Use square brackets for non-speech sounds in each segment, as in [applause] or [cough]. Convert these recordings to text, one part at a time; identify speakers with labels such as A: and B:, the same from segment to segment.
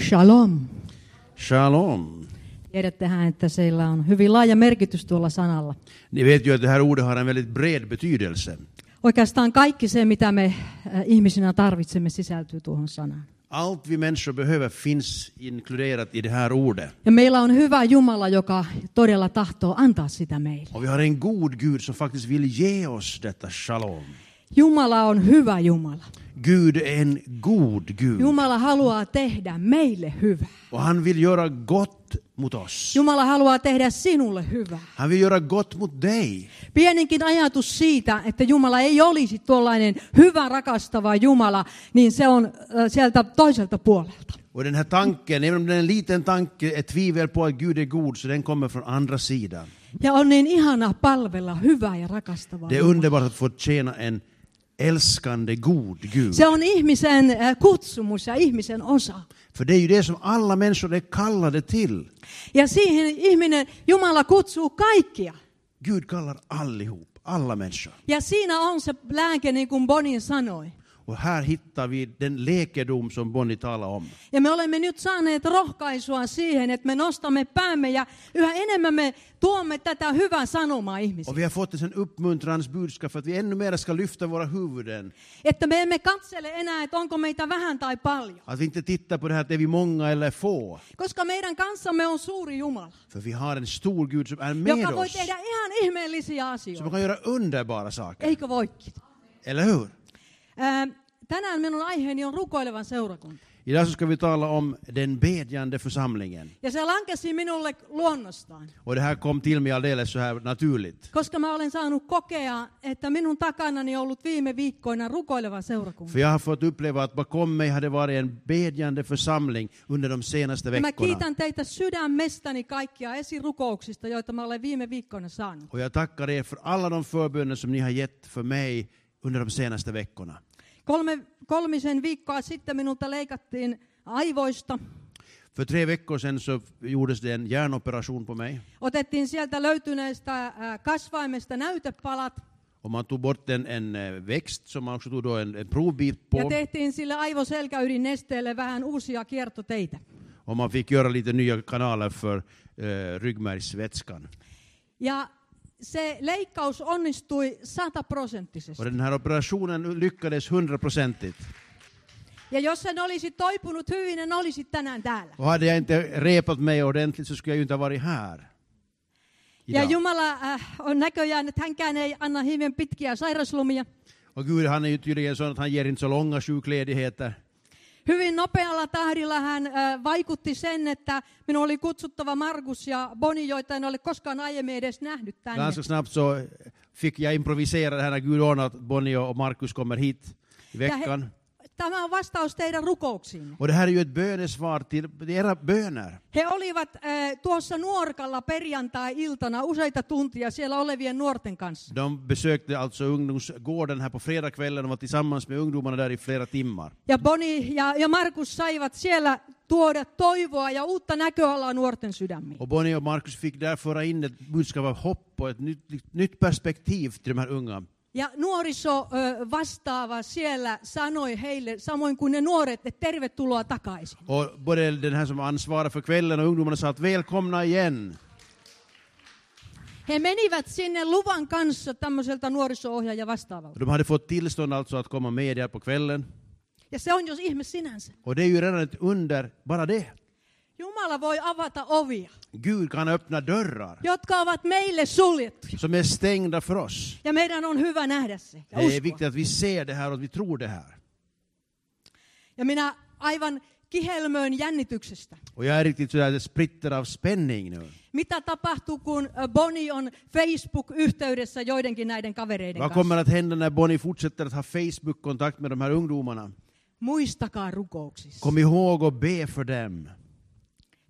A: Shalom.
B: Shalom.
A: Tiedättehän, että sillä on hyvin laaja merkitys tuolla sanalla.
B: Ni vet ju att det här ordet har en väldigt bred betydelse.
A: Oikeastaan kaikki se, mitä me äh, ihmisinä tarvitsemme, sisältyy tuohon sanaan.
B: Allt vi människor behöver finns inkluderat i det här ordet.
A: Ja meillä on hyvä Jumala, joka todella tahtoo antaa sitä meille.
B: Och vi har en god Gud som faktiskt vill ge oss detta shalom.
A: Jumala on hyvä Jumala.
B: Gud är en god Gud.
A: Jumala haluaa tehdä meille hyvää.
B: Och han vill göra gott mot oss.
A: Jumala haluaa tehdä sinulle hyvää.
B: Han vill göra gott mot dig.
A: Pieninkin ajatus siitä, että Jumala ei olisi tuollainen hyvä rakastava Jumala, niin se on äh, sieltä toiselta puolelta.
B: Och den här tanken, även om den är en liten tanke, är tvivel på att Gud är god, så den kommer från andra sidan.
A: Ja on niin ihana palvella hyvää ja rakastavaa.
B: Det är
A: Jumalaa.
B: underbart att få tjäna en älskande god Gud.
A: Se on ihmisen äh, kutsumus ja ihmisen osa.
B: För det är ju det som alla människor är kallade till.
A: Ja siihen ihminen, Jumala kutsuu kaikkia.
B: Gud kallar allihop, alla människor.
A: Ja siinä on se lääke, niin kuin Bonin sanoi.
B: Och här hittar vi den läkedom som Bonnie talar om.
A: Ja me olemme nyt saaneet rohkaisua siihen, että me nostamme päämme ja yhä enemmän me tuomme tätä hyvää sanomaa ihmisille.
B: Och vi har fått en uppmuntrans budskap för att vi ännu mer ska lyfta våra huvuden.
A: Että me emme katsele enää, että onko meitä vähän tai paljon.
B: Att vi inte tittar på det här att är vi många eller få.
A: Koska meidän kanssamme on suuri Jumala,
B: För vi har en stor Gud som är med
A: joka voi
B: oss.
A: tehdä ihan ihmeellisiä
B: Som
A: asioita.
B: kan göra underbara saker.
A: Eikö voikin?
B: Eller hur?
A: Ää, Ähm, tänään minun aiheeni on rukoilevan seurakunta.
B: Idag så ska vi tala om den bedjande församlingen.
A: Ja se lankesi minulle luonnostaan,
B: Och det här kom till mig alldeles så här naturligt.
A: koska mä olen saanut kokea, että minun takanani on ollut viime viikkoina rukoileva seurakunta.
B: För jag har fått uppleva att bakom mig hade varit en bedjande församling under de senaste
A: Ja Mä
B: veckorna.
A: kiitän teitä sydämestäni kaikkia esirukouksista, joita mä olen viime viikkoina saanut.
B: Och jag tackar er för alla de förböner som ni har gett för mig under de senaste veckorna.
A: Kolme, kolmisen viikkoa sitten minulta leikattiin aivoista.
B: För tre veckor sedan så gjordes det en hjärnoperation på mig.
A: Otettiin sieltä löytyneistä äh, kasvaimesta näytepalat
B: Och man tog bort en, en eh, växt som man också tog då en, en provbit
A: ja
B: på.
A: tehtiin sille aivoselkäydinnesteelle vähän uusia kiertoteitä.
B: Och man fick göra lite nya kanaler för eh, ryggmärgsvätskan.
A: Ja se leikkaus onnistui sataprosenttisesti.
B: Och den här operationen lyckades hundraprocentigt.
A: Ja jos en olisi toipunut hyvin, en olisi tänään täällä.
B: Och hade jag inte repat mig ordentligt så skulle jag ju inte ha varit här.
A: Ja
B: idag.
A: Jumala äh, on näköjään, että hänkään ei anna hivien pitkiä sairaslomia.
B: Och Gud han är ju tydligen sån att han ger inte så långa sjukledigheter.
A: Hyvin nopealla tahdilla hän äh, vaikutti sen, että minun oli kutsuttava Markus ja Boni, joita en ole koskaan aiemmin edes nähnyt tänne.
B: Ganska snabbt så fick jag improvisera det här när Gud ordnade att Bonnie och Markus kommer hit i
A: Ja he-
B: veckan.
A: Tämä on vastaus teidän rukouksiin.
B: Och det här är ju ett bönesvar till era böner.
A: He olivat äh, tuossa nuorkalla perjantai-iltana useita tuntia siellä olevien nuorten kanssa.
B: De besökte alltså ungdomsgården här på fredagskvällen och var tillsammans med ungdomarna där i flera timmar.
A: Ja Boni ja, ja Markus saivat siellä tuoda toivoa ja uutta näköalaa nuorten sydämiin.
B: Och Bonnie och Markus fick där föra in ett budskap av hopp och ett nytt, nytt perspektiv till de här unga.
A: Ja nuoriso ö, vastaava siellä sanoi heille, samoin kuin ne nuoret, että tervetuloa takaisin.
B: Och både den här som ansvarar för kvällen och ungdomarna sa att välkomna igen.
A: He menivät sinne luvan kanssa tämmöiseltä nuoriso-ohjaaja vastaavalta.
B: Och de hade fått tillstånd alltså att komma med där på kvällen.
A: Ja se on jos ihme sinänsä.
B: Och det är ju redan ett under, bara det.
A: Jumala voi avata ovia,
B: Gud kan öppna dörrar
A: jotka ovat meille suljettuja.
B: som är stängda för oss.
A: Ja meidän on hyvä nähdä se ja
B: Det är
A: uskoa.
B: viktigt att vi ser det här och att vi tror det här.
A: Ja minä aivan kihelmöin jännityksestä.
B: Och jag är riktigt sådär, det spritter av spänning nu.
A: Mitä tapahtuu, kun ö, Boni on Facebook-yhteydessä joidenkin näiden kavereiden
B: Vad
A: kanssa?
B: kommer att hända när Bonnie fortsätter att ha Facebook-kontakt med de här ungdomarna?
A: Muistakaa rukouksissa.
B: Kom ihåg att be för dem.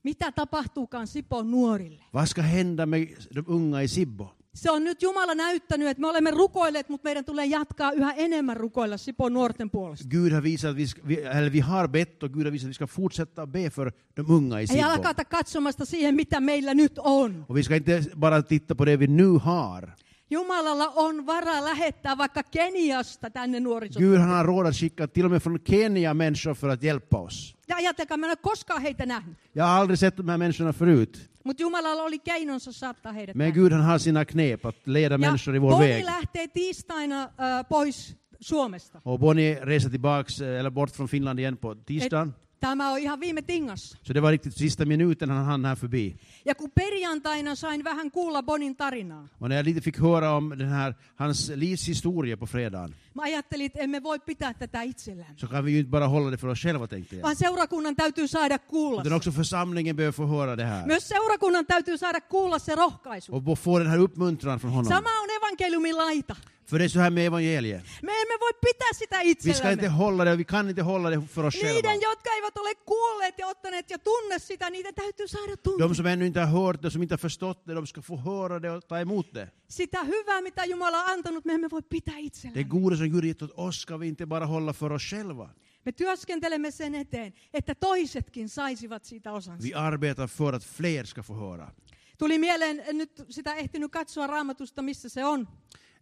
A: Mitä tapahtuukaan Sipon nuorille?
B: Vad ska hända med de unga i Sibbo?
A: Se on nyt Jumala näyttänyt, että me olemme rukoilleet, mutta meidän tulee jatkaa yhä enemmän rukoilla Sipon nuorten puolesta.
B: Gud har visat att vi, ska, vi, eller vi har bett och Gud har visat att vi ska fortsätta att be för de unga i
A: Ei
B: Sibbo.
A: alkata katsomasta siihen, mitä meillä nyt on.
B: Och vi ska inte bara titta på det vi nu har.
A: Jumalalla on vara lähettää vaikka Keniasta tänne nuorisotyöhön.
B: Gud han har råd att skicka till och med från Kenya människor för att hjälpa oss.
A: Ja ajatelkaa, mä en ole koskaan heitä nähnyt.
B: Jag har aldrig sett de här människorna förut.
A: Mutta Jumalalla oli keinonsa saattaa heidät
B: Men
A: tänne.
B: Gud han har sina knep att leda människor i vår
A: Boni
B: väg.
A: lähtee tiistaina äh, pois Suomesta.
B: Och Bonnie reser tillbaks, eh, eller bort från Finland igen på tisdagen.
A: Tämä on ihan viime tingassa.
B: Så det var riktigt sista minuten han hann här förbi.
A: Ja kun perjantaina sain vähän kuulla Bonin tarinaa,
B: Och när jag lite fick höra om den här, hans livs historia på fredagen,
A: mä ajattelin, että emme voi pitää tätä itsellään.
B: så kan vi ju inte bara hålla det för oss själva tänkte jag.
A: Vaan seurakunnan täytyy saada kuulla
B: Utan
A: se.
B: också församlingen behöver få höra det här.
A: Myös seurakunnan täytyy saada kuulla se rohkaisu.
B: Och bo- få den här uppmuntran från honom.
A: Sama on evankeliumin laita.
B: För det är så här med evangeliet.
A: Me emme voi pitää sitä
B: Vi ska inte
A: itsellämme.
B: hålla det, vi kan inte hålla det för oss själva.
A: Niiden, jotka eivät ole kuulleet ja ottaneet ja tunne sitä, niitä täytyy saada tuntea.
B: De som ännu inte har hört det, som inte har förstått det, de ska få höra det och ta emot det.
A: Sitä hyvää, mitä Jumala on antanut, me emme voi pitää
B: Det
A: itsellämme.
B: goda som Gud gett åt oss ska vi inte bara hålla för oss själva.
A: Me työskentelemme sen eteen, että toisetkin saisivat siitä osansa.
B: Vi arbetar för att fler ska få höra.
A: Tuli mieleen, en nyt sitä ehtinyt katsoa raamatusta, missä se on.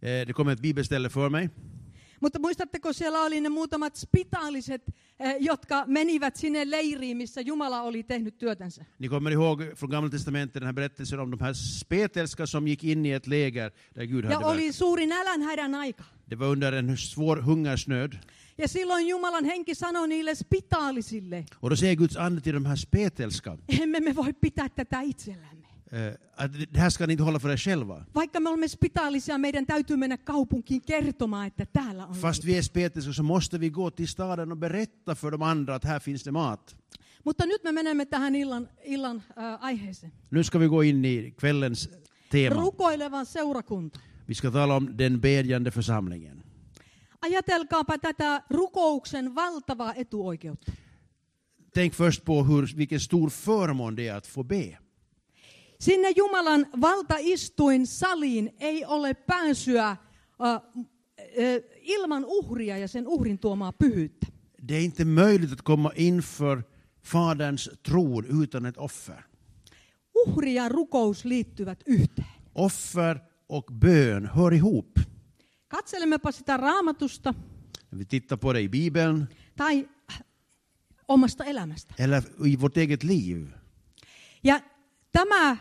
B: Eh, Det kommer ett bibelställe för mig.
A: Mutta muistatteko, siellä oli ne muutamat spitaaliset, eh, jotka menivät sinne leiriin, missä Jumala oli tehnyt työtänsä.
B: Ni kommer ihåg från Gamla Testamentet den här berättelsen om de här spetälska som gick in i ett läger där Gud
A: Ja
B: hade varit.
A: oli suuri nälänhädän aika.
B: Det var under en svår hungersnöd.
A: Ja silloin Jumalan henki sanoi niille spitaalisille,
B: Och då säger Guds ande till de här spetälska
A: emme me voi pitää tätä itsellämme.
B: eh, att det här ska ni inte hålla för er själva.
A: Vaikka me olemme spitaalisia, meidän täytyy mennä kaupunkiin kertomaan, että täällä on.
B: Mm. Fast vi är spetälska så måste vi gå till staden och berätta för de andra att här finns det mat.
A: niin." Mutta nyt me menemme tähän illan, illan äh, aiheeseen.
B: Nu ska vi gå in i kvällens tema.
A: Rukoileva seurakunta.
B: Vi ska tala om den bedjande församlingen.
A: Ajatelkaapa tätä rukouksen valtavaa etuoikeutta.
B: Tänk först på hur, vilken stor förmån det är att få be.
A: Sinne Jumalan valtaistuin saliin ei ole pääsyä äh, äh, ilman uhria ja sen uhrin tuomaa pyhyyttä.
B: Det är inte möjligt att komma inför Faderns tron utan ett offer.
A: Uhri ja rukous liittyvät yhteen.
B: Offer och bön hör ihop.
A: Katselemmepa sitä raamatusta
B: När vi tittar på det i Bibeln
A: tai äh, omasta elämästä.
B: eller i vårt eget liv.
A: Ja tämä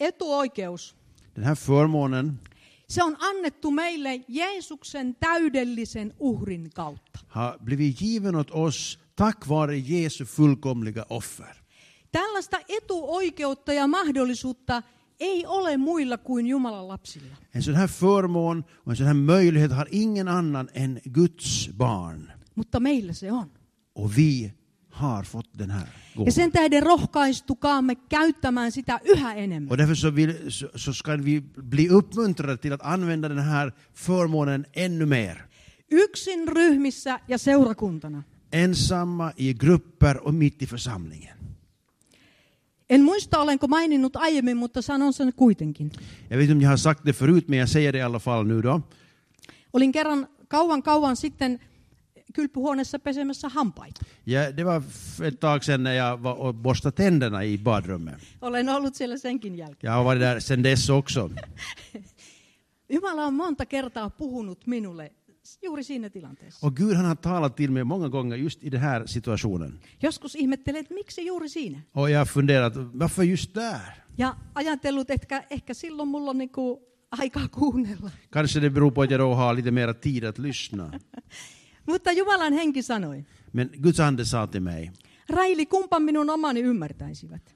A: etuoikeus,
B: Den här förmånen
A: se on annettu meille Jeesuksen täydellisen uhrin kautta.
B: har blivit given åt oss tack vare Jesu fullkomliga offer.
A: Tällaista etuoikeutta ja mahdollisuutta ei ole muilla kuin Jumalan lapsilla.
B: En sån här förmån och en sån här möjlighet har ingen annan än Guds barn.
A: Mutta meillä se on.
B: Och vi har fått den här
A: Ja
B: gåvan.
A: sen tähden rohkaistukaamme käyttämään sitä yhä enemmän.
B: Och därför så, vill, så, så ska vi bli uppmuntrade till att använda den här förmånen ännu mer.
A: Yksin ryhmissä ja seurakuntana.
B: Ensamma, i grupper och mitt i församlingen.
A: En muista, olenko maininnut aiemmin, mutta sanon sen kuitenkin.
B: Jag vet inte om jag har sagt det förut, men jag säger det i alla fall nu då.
A: Olin kerran kauan kauan sitten kylpyhuoneessa pesemässä hampaita.
B: Jag, det var f- ett tag sedan när jag var och borstade tänderna i badrummet.
A: Olen ollut siellä senkin jälkeen.
B: Jag har varit där sedan dess också.
A: Jumala on monta kertaa puhunut minulle juuri siinä tilanteessa.
B: Och Gud han har talat till mig många gånger just i den här situationen.
A: Joskus ihmettelen, että miksi juuri siinä.
B: Och jag har funderat, varför just där?
A: Ja ajatellut, että ehkä silloin mulla on niinku aikaa kuunnella.
B: Kanske det beror på att jag då har lite mer tid att lyssna.
A: Mutta Jumalan henki sanoi,
B: Men Guds ande sa till mig,
A: Raili, kumpa minun omani ymmärtäisivät.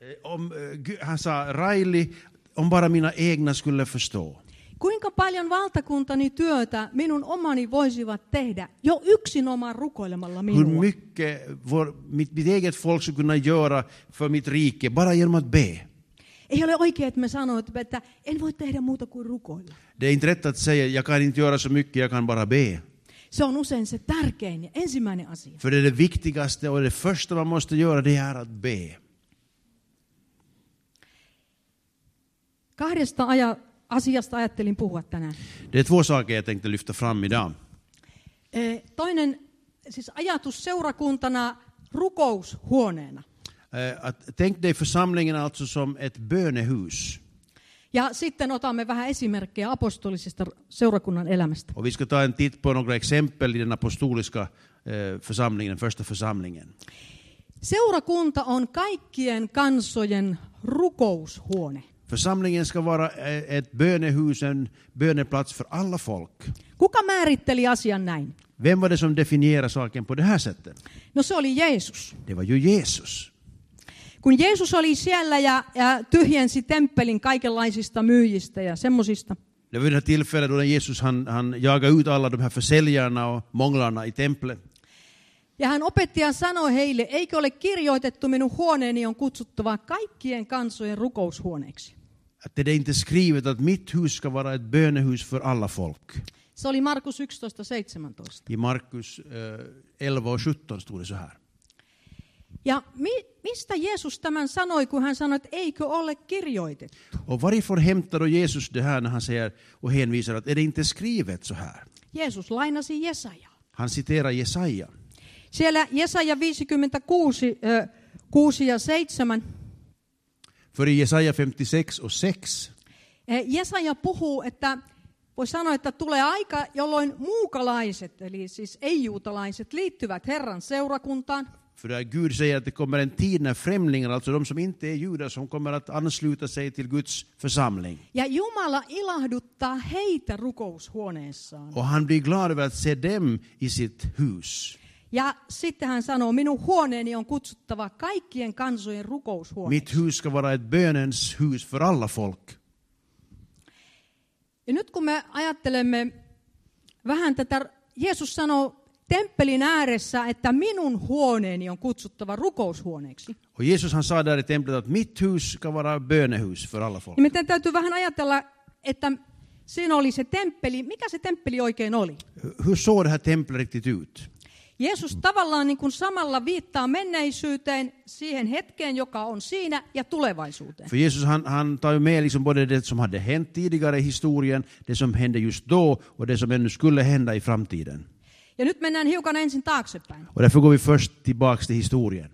B: eh, om, eh, Gud- han sa, Raili, om bara mina egna skulle förstå.
A: Kuinka paljon valtakuntani työtä minun omani voisivat tehdä jo yksin oman rukoilemalla
B: Hur
A: minua?
B: mycket vår, mitt, mitt eget folk skulle kunna göra för mitt rike bara genom att be.
A: Ei ole oikein, että me sanoo, että en voi tehdä muuta kuin rukoilla.
B: Det är inte rätt att säga, jag kan inte göra så mycket, jag kan bara be.
A: Se on usein se tärkein ja ensimmäinen asia.
B: För det är det viktigaste och det första man måste göra, det är att be.
A: Kahdesta aja, asiasta ajattelin puhua tänään.
B: Det är två saker jag tänkte lyfta fram idag.
A: Ee, Eh, Toinen siis ajatus seurakuntana rukoushuoneena.
B: Eh, Att, tänk dig församlingen alltså som ett bönehus.
A: Ja sitten otamme vähän esimerkkejä apostolisesta seurakunnan elämästä.
B: Och vi ska ta en titt på några exempel i den apostoliska eh, församlingen, den första församlingen.
A: Seurakunta on kaikkien kansojen rukoushuone.
B: Församlingen ska vara eh, ett bönehus, en böneplats för alla folk.
A: Kuka määritteli asian näin?
B: Vem var det som definierade saken på det här sättet?
A: No se oli Jeesus.
B: Det var ju Jesus.
A: Kun Jeesus oli siellä ja, ja tyhjensi temppelin kaikenlaisista myyjistä ja semmoisista,
B: Det var ju det här tillfället då Jesus han, han jagade ut alla de här försäljarna och månglarna i templet.
A: ja hän opetti ja sanoi heille, eikö ole kirjoitettu minun huoneeni on kutsuttava kaikkien kansojen rukoushuoneeksi.
B: Att det är inte skrivet att mitt hus ska vara ett bönehus för alla folk.
A: Se oli Markus 11.17.
B: I Markus eh, 11 och 17 stod det så här.
A: Ja mi- mistä Jeesus tämän sanoi, kun hän sanoi, että eikö ole kirjoitettu?
B: Och varifrån hämtar då Jesus det här när han säger och hänvisar att är det inte skrivet så här?
A: Jeesus lainasi Jesajaa.
B: Han citerar Jesaja.
A: Siellä Jesaja 56, ö, 6 ja 7.
B: För i Jesaja 56 och 6
A: ö, eh, Jesaja puhuu, että voi sanoa, että tulee aika, jolloin muukalaiset, eli siis ei-juutalaiset, liittyvät Herran seurakuntaan.
B: För där Gud säger att det kommer en tid när främlingar, alltså de som inte är judar, som kommer att ansluta sig till Guds församling.
A: Ja Jumala ilahduttaa heitä rukoushuoneessaan.
B: Och han blir glad över att se dem i sitt hus.
A: Ja sitten hän sanoo, minun huoneeni on kutsuttava kaikkien kansojen rukoushuone.
B: Mitt hus ska vara ett bönens hus för alla folk.
A: Ja nyt kun me ajattelemme vähän tätä, Jeesus sanoo temppelin ääressä, että minun huoneeni on kutsuttava rukoushuoneeksi.
B: Och Jesus han sa där i templet att mitt hus ska vara bönehus för alla folk.
A: Niin meidän täytyy vähän ajatella, että siinä oli se temppeli. Mikä se temppeli oikein oli?
B: Hur såg det här templet riktigt ut?
A: Jeesus tavallaan niin kuin samalla viittaa menneisyyteen, siihen hetkeen, joka on siinä, ja tulevaisuuteen.
B: För Jesus han, han tar ju med liksom både det som hade hänt tidigare i historien, det som hände just då och det som ännu skulle hända i framtiden.
A: Ja nyt mennään hiukan ensin taaksepäin.
B: Och därför går vi först tillbaks till historien.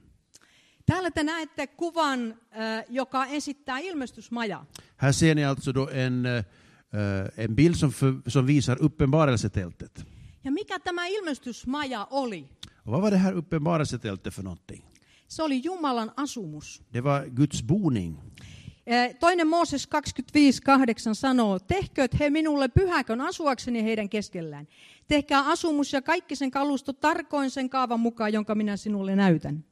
A: Täällä te näette kuvan, äh, joka esittää ilmestysmajaa.
B: Här ser ni alltså då en, eh, eh, en bild som, för, som visar uppenbarelsetältet.
A: Ja mikä tämä ilmestysmaja oli?
B: Och vad var det här uppenbarelsetältet för någonting?
A: Se oli Jumalan asumus.
B: Det var Guds boning.
A: Eh, Toinen Mooses 25.8 sanoo, tehkööt he minulle pyhäkön asuakseni heidän keskellään. Tehkää asumus ja kaikki sen kalusto tarkoin sen kaavan mukaan, jonka minä sinulle näytän.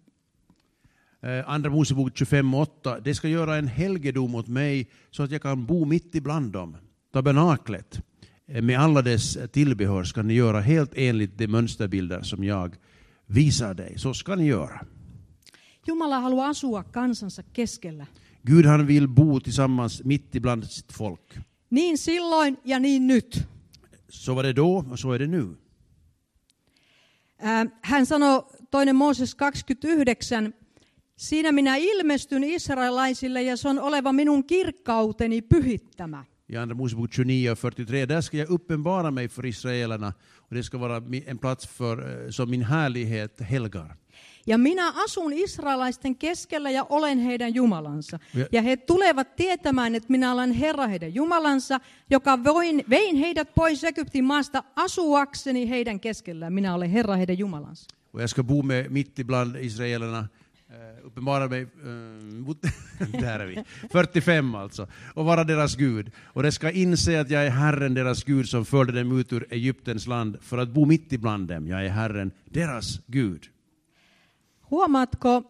B: Eh, Andra Mosebok 25 och 8. Det ska göra en helgedom åt mig så att jag kan bo mitt ibland dem. Tabernaklet eh, med alla dess tillbehör ska ni göra helt enligt de mönsterbilder som jag visar dig. Så ska ni göra.
A: Jumala haluaa asua kansansa keskellä.
B: Gud han vill bo tillsammans mitt ibland sitt folk.
A: Niin silloin ja niin nyt.
B: Så var det då och så är det nu.
A: Äh, Hän sanoo toinen Mooses 29, siinä minä ilmestyn israelaisille ja se on oleva minun kirkkauteni pyhittämä.
B: I Andra Mosebok 29 och 43. Där ska jag uppenbara mig för israelerna och det ska vara mi- en plats för, eh, som min härlighet helgar.
A: Ja minä asun israelaisten keskellä ja olen heidän Jumalansa.
B: Ja-
A: Ja, ja he tulevat tietämään, että minä olen Herra heidän Jumalansa, joka voin, vein heidät pois Egyptin maasta asuakseni heidän keskellään. Minä olen Herra heidän Jumalansa.
B: Och jag ska bo med, mitt ibland israelerna. Eh, uppenbara mig... Eh, mot, [laughs] där är vi. 45 alltså. Och vara deras Gud. Och de ska inse att jag är Herren deras Gud som förde dem ut ur Egyptens land för att bo mitt ibland dem. Jag är Herren deras Gud.
A: Huomaatko,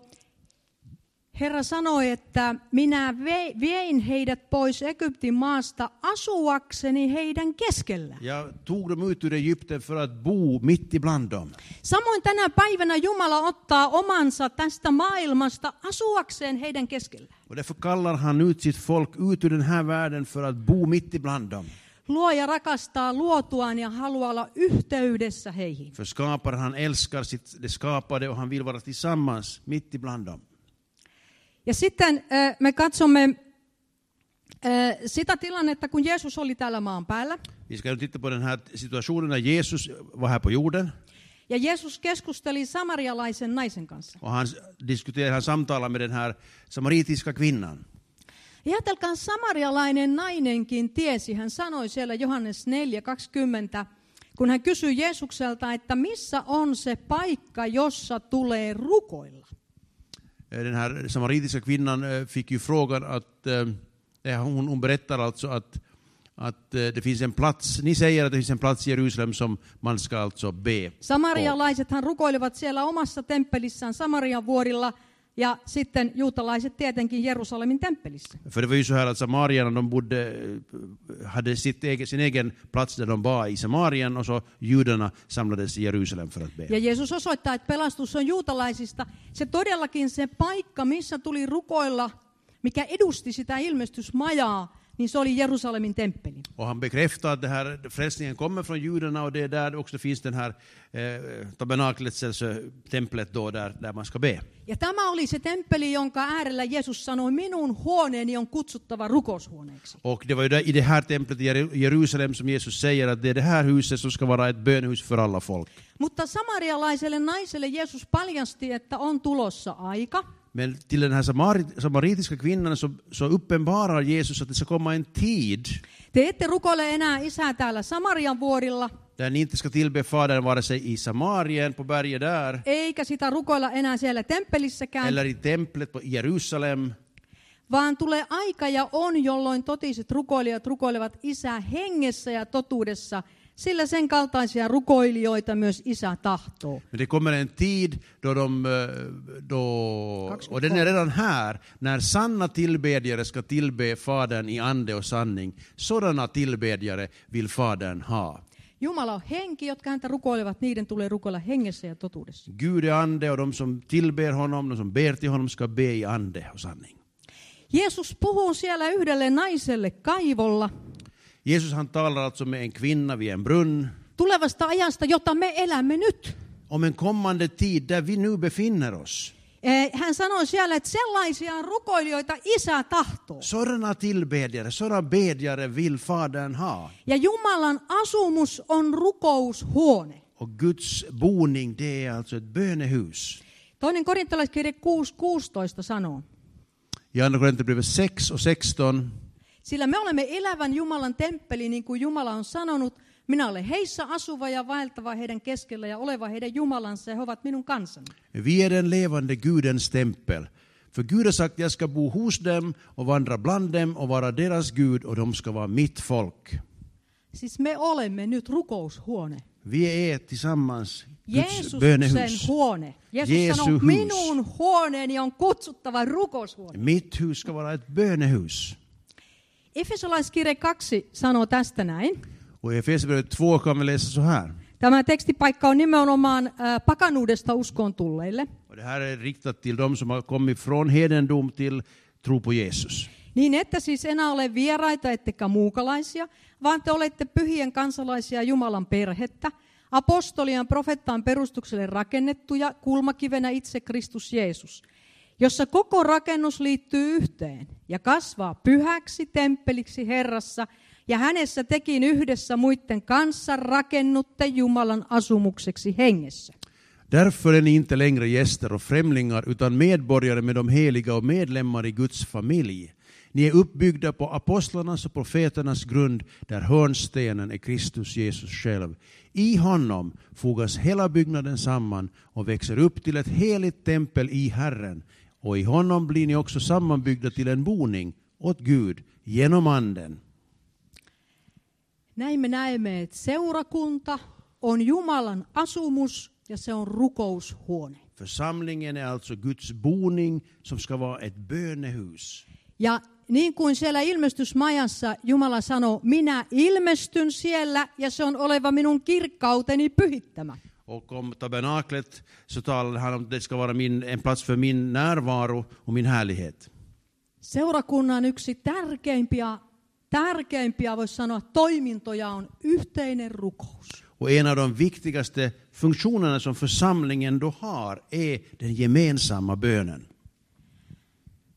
A: Herra sanoi, että minä vei- vein heidät pois Egyptin maasta asuakseni heidän keskellään.
B: Jag tog dem ut ur Egypten för att bo mitt ibland dem.
A: Samoin tänä päivänä Jumala ottaa omansa tästä maailmasta asuakseen heidän keskellään.
B: Och därför kallar han ut sitt folk ut ur den här världen för att bo mitt ibland dem.
A: Luoja rakastaa luotuaan ja haluaa olla yhteydessä heihin.
B: För skaparen han älskar sitt, det skapade och han vill vara tillsammans mitt ibland dem.
A: Ja sitten äh, me katsomme äh, sitä tilannetta, kun Jeesus oli täällä maan päällä.
B: Vi ska nu titta på den här situationen när Jesus var här på jorden
A: Ja Jeesus keskusteli samarialaisen naisen kanssa.
B: och han diskuterade, han samtalade med den här samaritiska kvinnan.
A: Ja ajatelkaa, samarialainen nainenkin tiesi, hän sanoi siellä Johannes 4.20, kun hän kysyi Jeesukselta, että missä on se paikka, jossa tulee rukoilla.
B: Eh, Den här samaritiska kvinnan eh, fick ju frågan att, eh, eh, hon, hon berättar alltså att, att eh, det finns en plats, ni säger att det finns en plats i Jerusalem som man ska alltså be.
A: Samarialaisethan rukoilivat siellä omassa temppelissään Samarian vuorilla ja sitten juutalaiset tietenkin Jerusalemin temppelissä.
B: För det var ju så här att samarierna de bodde, eh, hade sitt egen, sin egen plats där de var i Samarien och så judarna samlades i Jerusalem för att be.
A: Ja Jeesus osoittaa, että pelastus on juutalaisista. Se todellakin se paikka, missä tuli rukoilla, mikä edusti sitä ilmestysmajaa, niin se oli Jerusalemin temppeli.
B: Och han bekräftar att det här, frälsningen kommer från judarna och det är där också finns den här eh, tabernaklets, alltså templet då, där, där man ska be.
A: Ja tämä oli se temppeli, jonka äärellä Jeesus sanoi, minun huoneeni on kutsuttava rukoushuoneeksi.
B: Och det var ju där, i det här templet i Jeru- Jerusalem som Jesus säger att det är det här huset som ska vara ett bönhus för alla folk.
A: Mutta samarialaiselle naiselle Jeesus paljasti, että on tulossa aika,
B: Men till den här samari- samaritiska kvinnan så, så uppenbarar Jesus att det ska komma en tid
A: Te ette rukoile enää isää täällä Samarian vuorilla,
B: där ni inte ska tillbe Fadern vare sig i Samarien, på berget där,
A: eikä sitä rukoilla enää siellä temppelissäkään,
B: eller i templet på i Jerusalem.
A: vaan tulee aika ja on, jolloin totiset rukoilijat rukoilevat isää hengessä ja totuudessa, sillä sen kaltaisia rukoilijoita myös isä tahtoo.
B: Men det kommer en tid då de, eh, då, och den är redan här, när sanna tillbedjare ska tillbe Fadern i ande och sanning. Sådana tillbedjare vill Fadern ha.
A: Jumala on henki, jotka häntä rukoilevat, niiden tulee rukoilla hengessä ja totuudessa.
B: Gud är ande och de som tillber honom, de som ber till honom ska be i ande och sanning.
A: Jeesus puhuu siellä yhdelle naiselle kaivolla
B: Jesus han talar alltså med en kvinna vid en brunn
A: tulevasta ajasta, jota me elämme nyt.
B: om en kommande tid där vi nu befinner oss.
A: Eh, Hän sanoi siellä, että sellaisia rukoilijoita isä tahtoo.
B: Sådana tillbedjare, sådana bedjare vill Fadern ha.
A: Ja Jumalan asumus on rukoushuone.
B: Och Guds boning, det är alltså ett bönehus.
A: Toinen korintolaiskirje 6.16 sanoo,
B: I Andra Korinthierbrevet 6 och 16.
A: sillä me olemme elävän Jumalan temppeli, niin kuin Jumala on sanonut, minä olen heissä asuva ja vaeltava heidän keskellä ja oleva heidän Jumalansa ja he ovat minun kansani.
B: Vi är den levande Gudens tempel. För Gud har sagt, jag ska bo hos dem och vandra bland dem och vara deras Gud och de ska vara mitt folk.
A: Siis me olemme nyt rukoushuone.
B: Vi är tillsammans Guds
A: Jeesuksen
B: bönehus.
A: huone. Jeesus
B: Jeesus
A: sanoo,
B: hus.
A: minun huoneeni on kutsuttava rukoushuone.
B: Mitt hus ska vara ett bönehus.
A: Efesolaiskirje 2 sanoo tästä näin.
B: Och i Efesierbrevet 2 kan vi läsa så här.
A: Tämä tekstipaikka on nimenomaan äh, pakanuudesta uskoon tulleille.
B: Och det här är riktat till de som har kommit från hedendom till tro på Jesus.
A: Niin että siis enää ole vieraita ettekä muukalaisia, vaan te olette pyhien kansalaisia Jumalan perhettä, apostolian profettaan perustukselle rakennettuja kulmakivenä itse Kristus Jeesus, jossa koko rakennus liittyy yhteen ja kasvaa pyhäksi temppeliksi Herrassa, ja hänessä tekin yhdessä muiden kanssa rakennutte Jumalan asumukseksi hengessä.
B: Därför är ni inte längre gäster och främlingar utan medborgare med de heliga och medlemmar i Guds familj. Ni är uppbyggda på apostlarnas och profeternas grund där hörnstenen är Kristus Jesus själv. I honom fogas hela byggnaden samman och växer upp till ett heligt tempel i Herren och i honom blir ni också sammanbyggda till en boning åt Gud genom anden.
A: Näin me näemme, että seurakunta on Jumalan asumus ja se on rukoushuone.
B: Församlingen är alltså Guds boning som ska vara ett bönehus.
A: Ja niin kuin siellä ilmestysmajassa Jumala sanoo, minä ilmestyn siellä ja se on oleva minun kirkkauteni pyhittämä.
B: Och om tabernaklet så talade han om att det ska vara min, en plats för min närvaro och min härlighet.
A: Seurakunnan yksi tärkeimpiä, tärkeimpiä voisi sanoa, toimintoja on yhteinen rukous.
B: Och en av de viktigaste funktionerna som församlingen då har är den gemensamma bönen.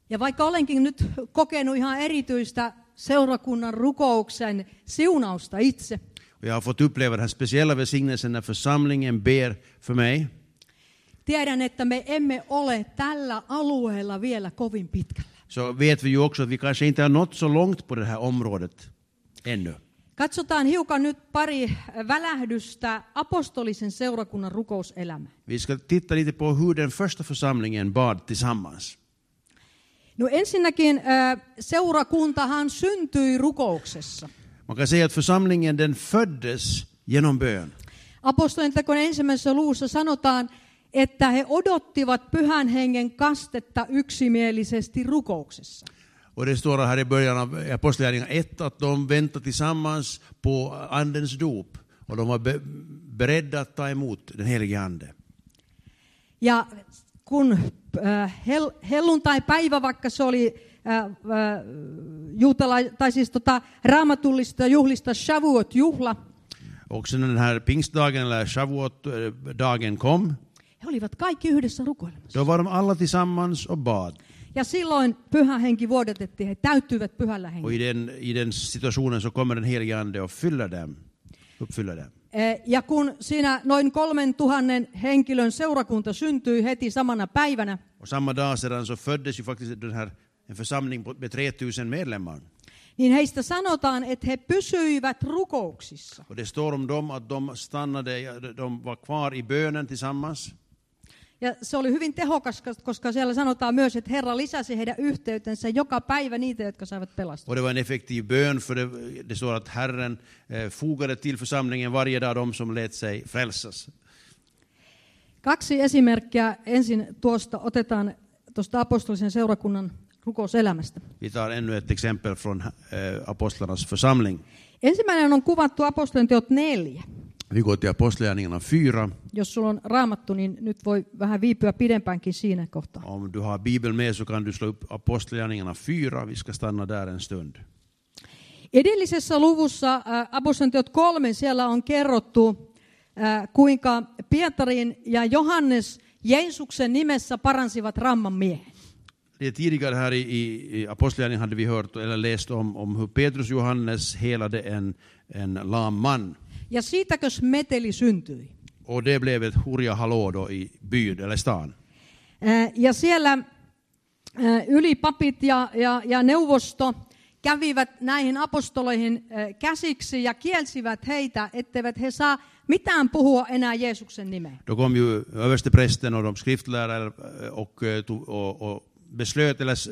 A: Ja vaikka olenkin nyt kokenut ihan erityistä seurakunnan rukouksen siunausta itse,
B: Och jag har fått uppleva den här speciella välsignelsen när församlingen ber för mig.
A: Tiedän, että me emme ole tällä alueella vielä kovin pitkällä.
B: så vet vi ju också att vi kanske inte har nått så långt på det här området ännu.
A: Katsotaan hiukan nyt pari äh, välähdystä apostolisen seurakunnan rukouselämään.
B: Vi ska titta lite på hur den första församlingen bad tillsammans.
A: No ensinnäkin äh, seurakuntahan syntyi rukouksessa.
B: Man kan säga att församlingen den föddes genom bön.
A: Apostolien tekojen ensimmäisessä luussa sanotaan, että he odottivat pyhän hengen kastetta yksimielisesti rukouksessa.
B: Och det står här i början av Apostlagärningarna 1 att de väntade tillsammans på Andens dop och de var be- beredda att ta emot den helige Ande.
A: Ja kun äh, hel, helluntai-päivä, vaikka se oli äh, äh, juutala- tai siis tota, raamatullista juhlista Shavuot-juhla,
B: Och sen när den här pingstdagen, eller shavuot-dagen kom,
A: he olivat kaikki yhdessä rukoilemassa.
B: då var de alla tillsammans och bad.
A: Ja silloin pyhä henki vuodatettiin, he täyttyivät pyhällä
B: Och
A: hengellä.
B: i den, i den situationen så kommer den helige Ande och fyller dem, uppfyller dem.
A: Eh, Ja kun siinä noin kolmen tuhannen henkilön seurakunta syntyi heti samana päivänä,
B: Och samma dag sedan så föddes ju faktiskt den här, en församling på- med 3000 medlemmar.
A: niin heistä sanotaan, että he pysyivät rukouksissa.
B: Och det står om dem att de stannade, de var kvar i bönen tillsammans.
A: Ja se oli hyvin tehokas, koska siellä sanotaan myös, että Herra lisäsi heidän yhteytensä joka päivä niitä, jotka saivat pelastua.
B: Och det var en effektiv bön, för det, det står att Herren eh, fogade till församlingen varje dag de som lät sig frälsas.
A: Kaksi esimerkkiä ensin tuosta otetaan tuosta apostolisen seurakunnan rukouselämästä.
B: Vi tar ännu ett exempel från eh, apostlarnas församling.
A: Ensimmäinen on kuvattu apostolien teot neljä.
B: Vi går till Apostlagärningarna 4.
A: Jos sulla on raamattu, niin nyt voi vähän viipyä pidempäänkin siinä kohtaa.
B: Om du har Bibeln med så kan du slå upp Apostlagärningarna 4. Vi ska stanna där en stund.
A: Edellisessä luvussa äh, apostolien teot kolme, siellä on kerrottu, äh, kuinka Pietarin ja Johannes Jeesuksen nimessä paransivat ramman miehen.
B: Det tidigare här i, i, i Apostlagärningarna hade vi hört eller läst om, om hur Petrus och Johannes helade en, en lam man.
A: Ja siitäkös meteli syntyi.
B: Och det blev ett hurja hallå då i byn eller stan.
A: Äh, Ja siellä äh, ylipapit ja, ja, ja neuvosto kävivät näihin apostoleihin äh, käsiksi ja kielsivät heitä, etteivät he saa mitään puhua enää Jeesuksen nimeen.
B: Då kom ju översteprästen och de skriftlärare och, eh, tog- och, och beslöt eller s-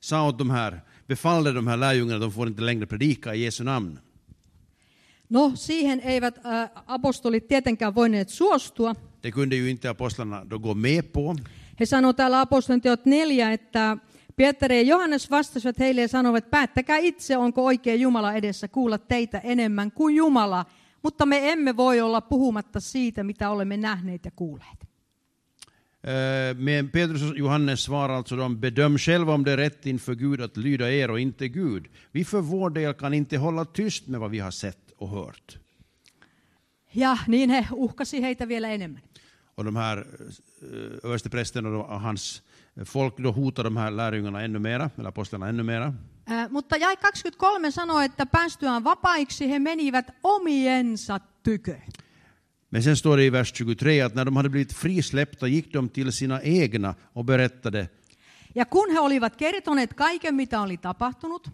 B: sa åt de här, befallde de här lärjungarna att de får inte längre predika i Jesu namn.
A: No siihen eivät äh, apostolit tietenkään voineet suostua.
B: Det kunde ju inte apostlarna då gå med på.
A: He sanoo täällä apostolien teot neljä, että Pietari ja Johannes vastasivat heille ja sanovat, päättäkää itse, onko oikein Jumala edessä kuulla teitä enemmän kuin Jumala, mutta me emme voi olla puhumatta siitä, mitä olemme nähneet ja kuulleet.
B: Eh, Men Petrus och Johannes svarar alltså de bedöm själva om det är rätt inför Gud att lyda er och inte Gud. Vi för vår del kan inte hålla tyst med vad vi har sett och hört.
A: Ja niin he uhkasi heitä vielä enemmän.
B: Och de här eh, översteprästen och de- och hans folk då hotar de här lärjungarna ännu mera, eller apostlarna ännu mera.
A: Ä, mutta jäi 23 sanoi, että päästyään vapaiksi he menivät omiensa tykö.
B: Men sen står det i vers 23 att när de hade blivit frisläppta gick de till sina egna och berättade.
A: Ja kun he olivat kertoneet kaiken, mitä oli tapahtunut,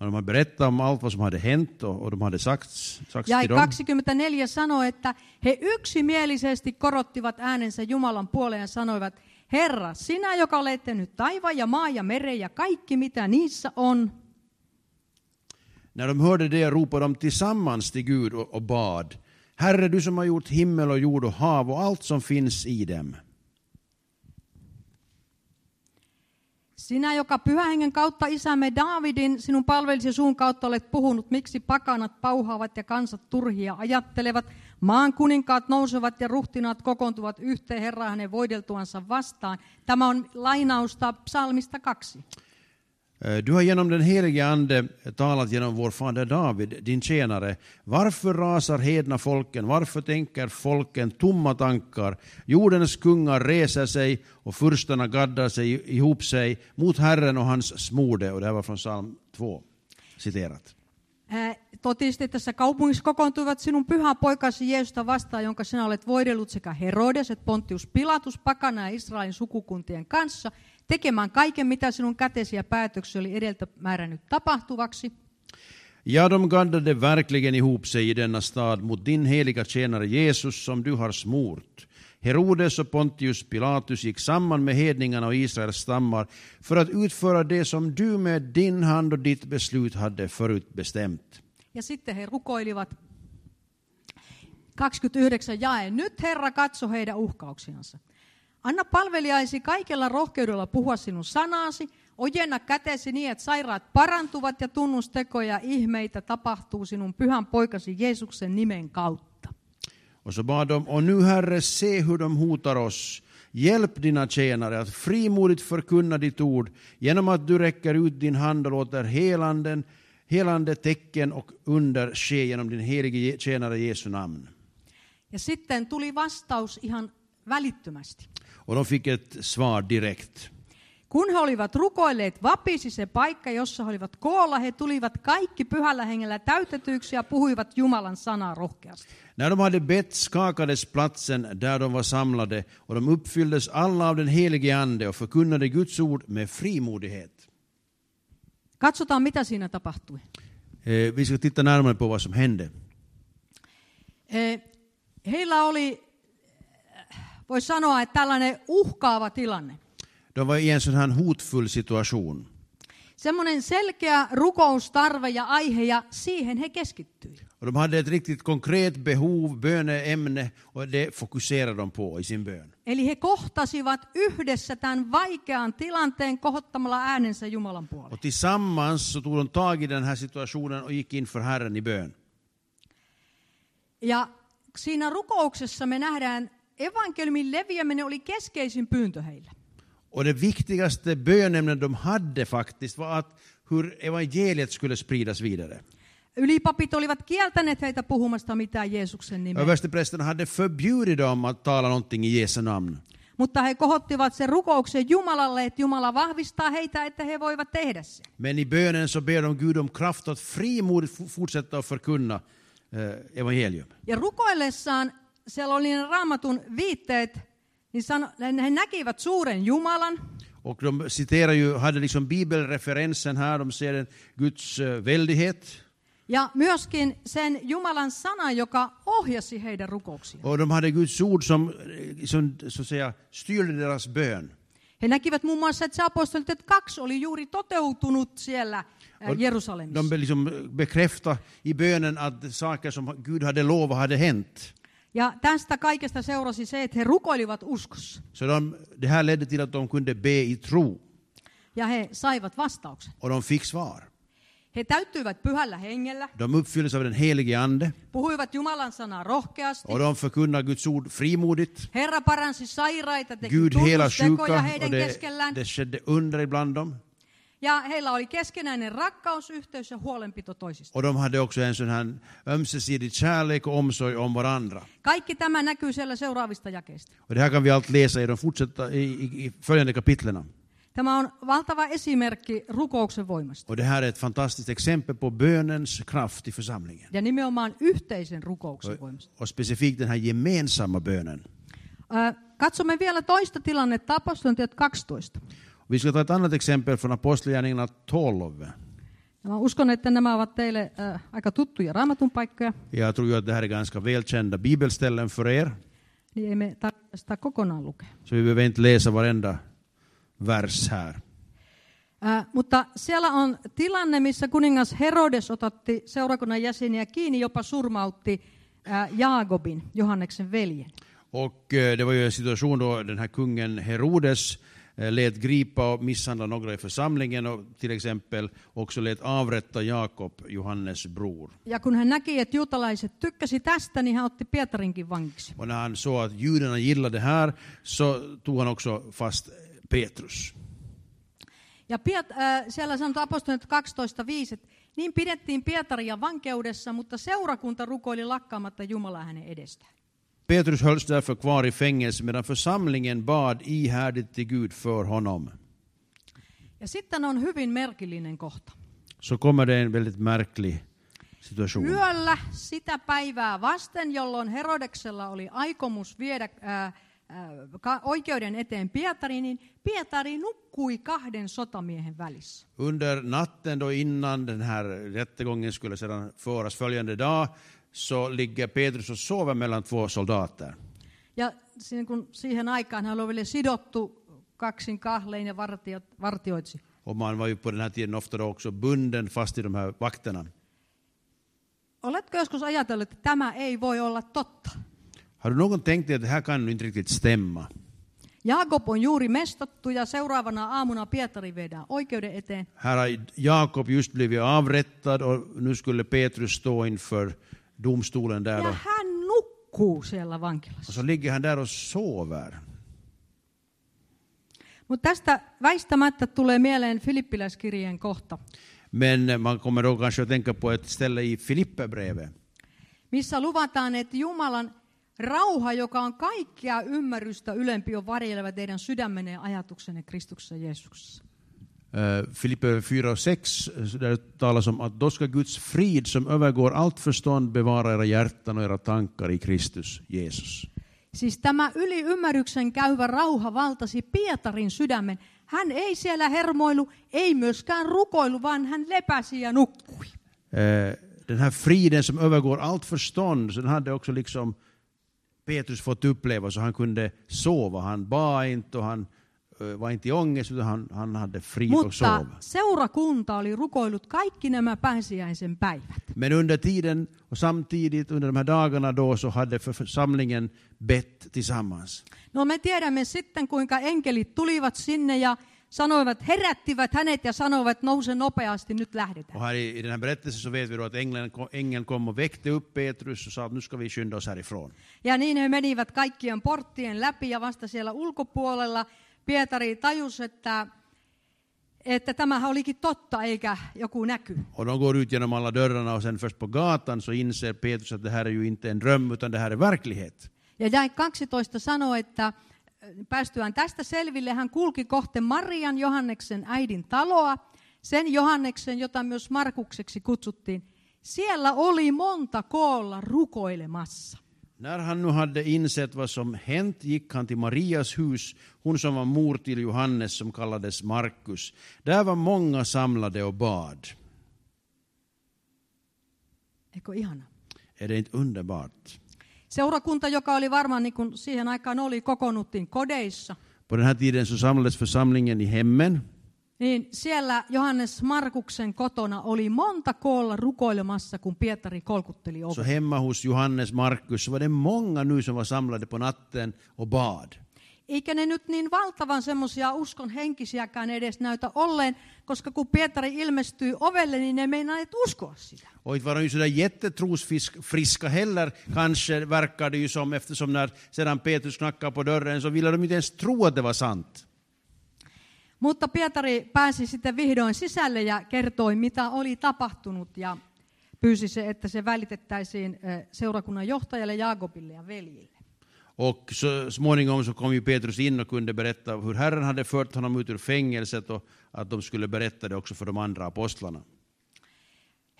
B: Och de hade berättat om allt vad som hade hänt och, och de hade sagts, sagts
A: Jäi
B: till dem.
A: 24 sanoi, että he yksimielisesti korottivat äänensä Jumalan puoleen ja sanoivat, Herra, sinä, joka olet tehnyt taivaan ja maa ja meren ja kaikki, mitä niissä on,
B: När de hörde det ropade de tillsammans till Gud och, och bad. Herre, du som har gjort himmel och jord och hav och allt som finns i dem.
A: sinä, joka pyhän hengen kautta isämme Daavidin, sinun palvelisi suun kautta olet puhunut, miksi pakanat pauhaavat ja kansat turhia ajattelevat, maan kuninkaat nousevat ja ruhtinaat kokoontuvat yhteen Herraa hänen voideltuansa vastaan. Tämä on lainausta psalmista kaksi.
B: Eh, Du har genom den helige Ande talat genom vår fader David, din tjänare. Varför rasar hedna folken? Varför tänker folken tomma tankar? Jordens kungar reser sig och furstarna gaddar sig ihop sig mot Herren och hans smorde. Och det här var från psalm 2, citerat.
A: Ää, Totisesti tässä kaupungissa kokoontuivat sinun pyhä poikasi Jeesusta vastaan, jonka sinä olet voidellut sekä Herodes että Pontius Pilatus pakana ja Israelin sukukuntien kanssa. tekemään kaiken, mitä sinun kätesi ja päätöksi oli edeltä määrännyt tapahtuvaksi.
B: Ja, de gaddade verkligen ihop sig i denna stad mot din heliga tjänare Jesus som du har smort. Herodes och Pontius Pilatus gick samman med hedningarna och Israels stammar för att utföra det som du med din hand och ditt beslut hade förutbestämt.
A: Ja sitten he rukoilivat 29 jae. Nyt Herra katso heidän uhkauksiansa. Anna palvelijaisi kaikella rohkeudella puhua sinun sanaasi, ojenna kätesi niin, että sairaat parantuvat ja tunnustekoja ja ihmeitä tapahtuu sinun pyhän poikasi Jeesuksen nimen kautta.
B: Och så bad de, och nu Herre, se hur de hotar oss. Hjälp dina tjänare att frimodigt förkunna ditt ord genom att du räcker ut din hand och låter helanden, helande tecken och under ske genom din helige Je- tjänare Jesu namn.
A: Ja sitten tuli vastaus ihan välittömästi.
B: Och de fick ett svar direkt.
A: Kun he olivat rukoilleet, vapisi se paikka, jossa he olivat koolla. He tulivat kaikki pyhällä hengellä täytetyiksi ja puhuivat Jumalan sanaa rohkeasti.
B: När de hade bett skakades platsen där de var samlade och de uppfylldes alla av den helige Ande och förkunnade Guds ord med frimodighet.
A: Katsotaan, mitä siinä tapahtui.
B: Eh, vi ska titta närmare på vad som hände.
A: Eh, Heillä oli, voi sanoa, että tällainen uhkaava tilanne.
B: De var i en sån här hotfull situation.
A: Semmoinen selkeä rukoustarve ja aihe, ja siihen he keskittyivät.
B: Och de hade ett riktigt konkret behov, böneämne, och det fokuserade de på i sin bön.
A: Eli he kohtasivat yhdessä tämän vaikean tilanteen kohottamalla äänensä Jumalan puolelle.
B: Och tillsammans så tog de tag i den här situationen och gick inför Herren i bön.
A: Ja siinä rukouksessa me nähdään, evankeliumin leviäminen oli keskeisin pyyntö heille.
B: Och det viktigaste bönämnen de hade faktiskt var att hur evangeliet skulle spridas vidare.
A: Ylipapit olivat kieltäneet heitä puhumasta mitään Jeesuksen nimeä,
B: Översteprästen hade förbjudit dem att tala någonting i Jesu namn.
A: mutta he kohottivat sen rukouksen Jumalalle, että Jumala vahvistaa heitä, että he voivat tehdä sen.
B: Men i bönen så ber de Gud om kraft att frimodigt f- fortsätta att förkunna eh, evangelium.
A: Ja rukoillessaan siellä oli ne raamatun viitteet, niin sano, he näkivät suuren Jumalan,
B: Och de citerar ju, hade liksom bibelreferensen här, de ser en Guds eh, väldighet.
A: ja myöskin sen Jumalan sanan, joka ohjasi heidän rukouksiaan.
B: Och de hade Guds ord som, eh, som så att säga, styrde deras bön.
A: He näkivät muun muassa, että se apostolitet kaksi oli juuri toteutunut siellä ää, Jerusalemissa.
B: De be- liksom bekräftade i bönen att saker som Gud hade lovat hade hänt.
A: Ja tästä kaikesta seurasi se, että he rukoilivat uskossa
B: Så de, det här ledde till att de kunde be i tro,
A: ja he saivat vastauksen.
B: och de fick svar.
A: He täyttyivät pyhällä hengellä,
B: De uppfylldes av den helige Ande,
A: puhuivat Jumalan sanaa rohkeasti.
B: och de förkunnar Guds ord frimodigt.
A: Herra paransi sairaita, teki
B: Gud helar
A: tunnustekoja
B: sjuka,
A: heidän
B: och det,
A: keskellään.
B: det skedde under ibland dem.
A: Ja heillä oli keskenäinen rakkaus, yhteys ja huolenpito toisista.
B: Och de hade också en sån här ömsesidig kärlek och omsorg om varandra.
A: Kaikki tämä näkyy siellä seuraavista jakeista.
B: Och det här kan vi allt läsa i de fortsatta, i, i, i följande kapitlerna.
A: Tämä on valtava esimerkki rukouksen voimasta
B: Och det här är ett fantastiskt exempel på bönens kraft i församlingen.
A: ja nimenomaan yhteisen rukouksen voimasta.
B: Och specifikt den här gemensamma bönen.
A: Ö, Katsomme vielä toista tilannetta, apostolien 12.
B: Vi ska ta ett annat exempel från Apostlagärningarna 12.
A: Ja Mä uskon, että nämä ovat teille ö, aika tuttuja raamatun paikkoja,
B: Jag tror ju att det här är ganska välkända bibelställen för er.
A: niin ei me tarvitse sitä kokonaan lukea.
B: Så vi behöver inte läsa varenda vers här.
A: Ö, mutta siellä on tilanne, missä kuningas Herodes otti seurakunnan jäseniä kiinni, jopa surmautti ö, Jaakobin, Johanneksen veljen.
B: Och eh, det var ju en situation då den här kungen Herodes eh, lät gripa och misshandla några i församlingen och till exempel också lät avrätta Jakob, Johannes bror.
A: Ja kun hän näki, että juutalaiset tykkäsi tästä, niin hän otti Pietarinkin vankiksi.
B: Och när han såg att judarna gillade det här så tog han också fast Petrus.
A: Ja Piet, äh, siellä sanotaan apostolien 12.5, että niin pidettiin Pietaria vankeudessa, mutta seurakunta rukoili lakkaamatta Jumalaa hänen edestään.
B: Petrus hölls därför kvar i fängelse medan församlingen bad ihärdigt till Gud för honom.
A: Ja sitten on hyvin merkillinen kohta.
B: Så kommer det en väldigt märklig situation.
A: Yöllä sitä päivää vasten, jolloin Herodeksella oli aikomus viedä äh, äh, ka- oikeuden eteen Pietariin, niin Pietari nukkui kahden sotamiehen välissä.
B: Under natten då innan den här rättegången skulle sedan föras följande dag så ligger Petrus och sover mellan två soldater.
A: Ja siinä kun siihen aikaan hän oli vielä sidottu kaksin kahlein ja vartio- vartioitsi.
B: Och man var ju på den här tiden ofta då också bunden fast i de här vakterna.
A: Oletko joskus ajatellut, että tämä ei voi olla totta?
B: Har du någon tänkt dig att det här kan ju inte riktigt stämma?
A: Jaakob on juuri mestattu ja seuraavana aamuna Pietari viedään oikeuden eteen.
B: Här har Jakob just blivit avrättad och nu skulle Petrus stå inför domstolen där
A: Ja
B: då.
A: hän nukkuu siellä vankilassa.
B: Och så ligger han där och sover.
A: Mutta tästä väistämättä tulee mieleen Filippiläiskirjeen kohta,
B: Men man kommer då kanske att tänka på ett ställe i Filipperbrevet
A: missä luvataan, että Jumalan rauha, joka on kaikkea ymmärrystä ylempi, on varjeleva teidän sydämenne ja ajatuksenne Kristuksessa Jeesuksessa.
B: Eh, Filippe 4 och 6, eh, där det talas om att då ska Guds frid som övergår allt förstånd bevara era hjärtan och era tankar i Kristus Jesus.
A: Siis tämä yli ymmärryksen käyvä rauha valtasi Pietarin sydämen. Hän ei siellä hermoilu, ei myöskään rukoilu, vaan hän lepäsi ja nukkui.
B: Eh, Den här friden som övergår allt förstånd, så den hade också liksom Petrus fått uppleva så han kunde sova. Han bad inte och han eh, var inte i ångest utan han, han hade frid och
A: Mutta
B: sov.
A: seurakunta oli rukoillut kaikki nämä pääsiäisen päivät.
B: Men under tiden och samtidigt under de här dagarna då så hade för- församlingen bett tillsammans.
A: No me tiedämme sitten, kuinka enkelit tulivat sinne ja sanoivat, herättivät hänet ja sanoivat, nouse nopeasti, nyt lähdetään.
B: Och här i, i den här berättelsen så vet vi då att ängeln, ko- ängeln kom och väckte upp Petrus och sa att nu ska vi skynda oss härifrån.
A: Ja niin he menivät kaikkien porttien läpi ja vasta siellä ulkopuolella Pietari tajusi, että, että tämähän olikin totta eikä joku näky.
B: Och de går ut genom alla dörrarna och sen först på gatan så inser Petrus att det här är ju inte en dröm utan det här är verklighet.
A: Ja jäi 12 sanoi, että äh, päästyään tästä selville hän kulki kohti Marian Johanneksen äidin taloa, sen Johanneksen, jota myös Markukseksi kutsuttiin. Siellä oli monta koolla rukoilemassa.
B: När han nu hade insett vad som hänt gick han till Marias hus, hon som var mor till Johannes som kallades Markus. Där var många samlade och bad.
A: Eikö ihana?
B: Är det inte underbart?
A: Seurakunta, joka oli varmaan niin kuin siihen aikaan oli, kokoonnuttiin kodeissa.
B: På den här tiden så samlades församlingen i hemmen
A: Niin siellä Johannes Markuksen kotona oli monta koolla rukoilemassa, kun Pietari kolkutteli
B: Så
A: ovea.
B: hemma hos Johannes Markus så var det många nu som var samlade på natten och bad.
A: Eikä ne nyt niin valtavan semmoisia uskon henkisiäkään edes näytä olleen, koska kun Pietari ilmestyy ovelle, niin ne meinaa et uskoa sitä.
B: Och inte var de ju sådär jättetrosfriska heller, kanske verkar det ju som, eftersom när sedan Petrus knackade på dörren så ville de inte ens tro att det var sant.
A: Mutta Pietari pääsi sitten vihdoin sisälle ja kertoi, mitä oli tapahtunut ja pyysi se, että se välitettäisiin eh, seurakunnan johtajalle Jaakobille ja veljille.
B: Och så småningom så kom ju Petrus in och kunde berätta hur Herren hade fört honom ut ur fängelset och att de skulle berätta det också för de andra apostlarna.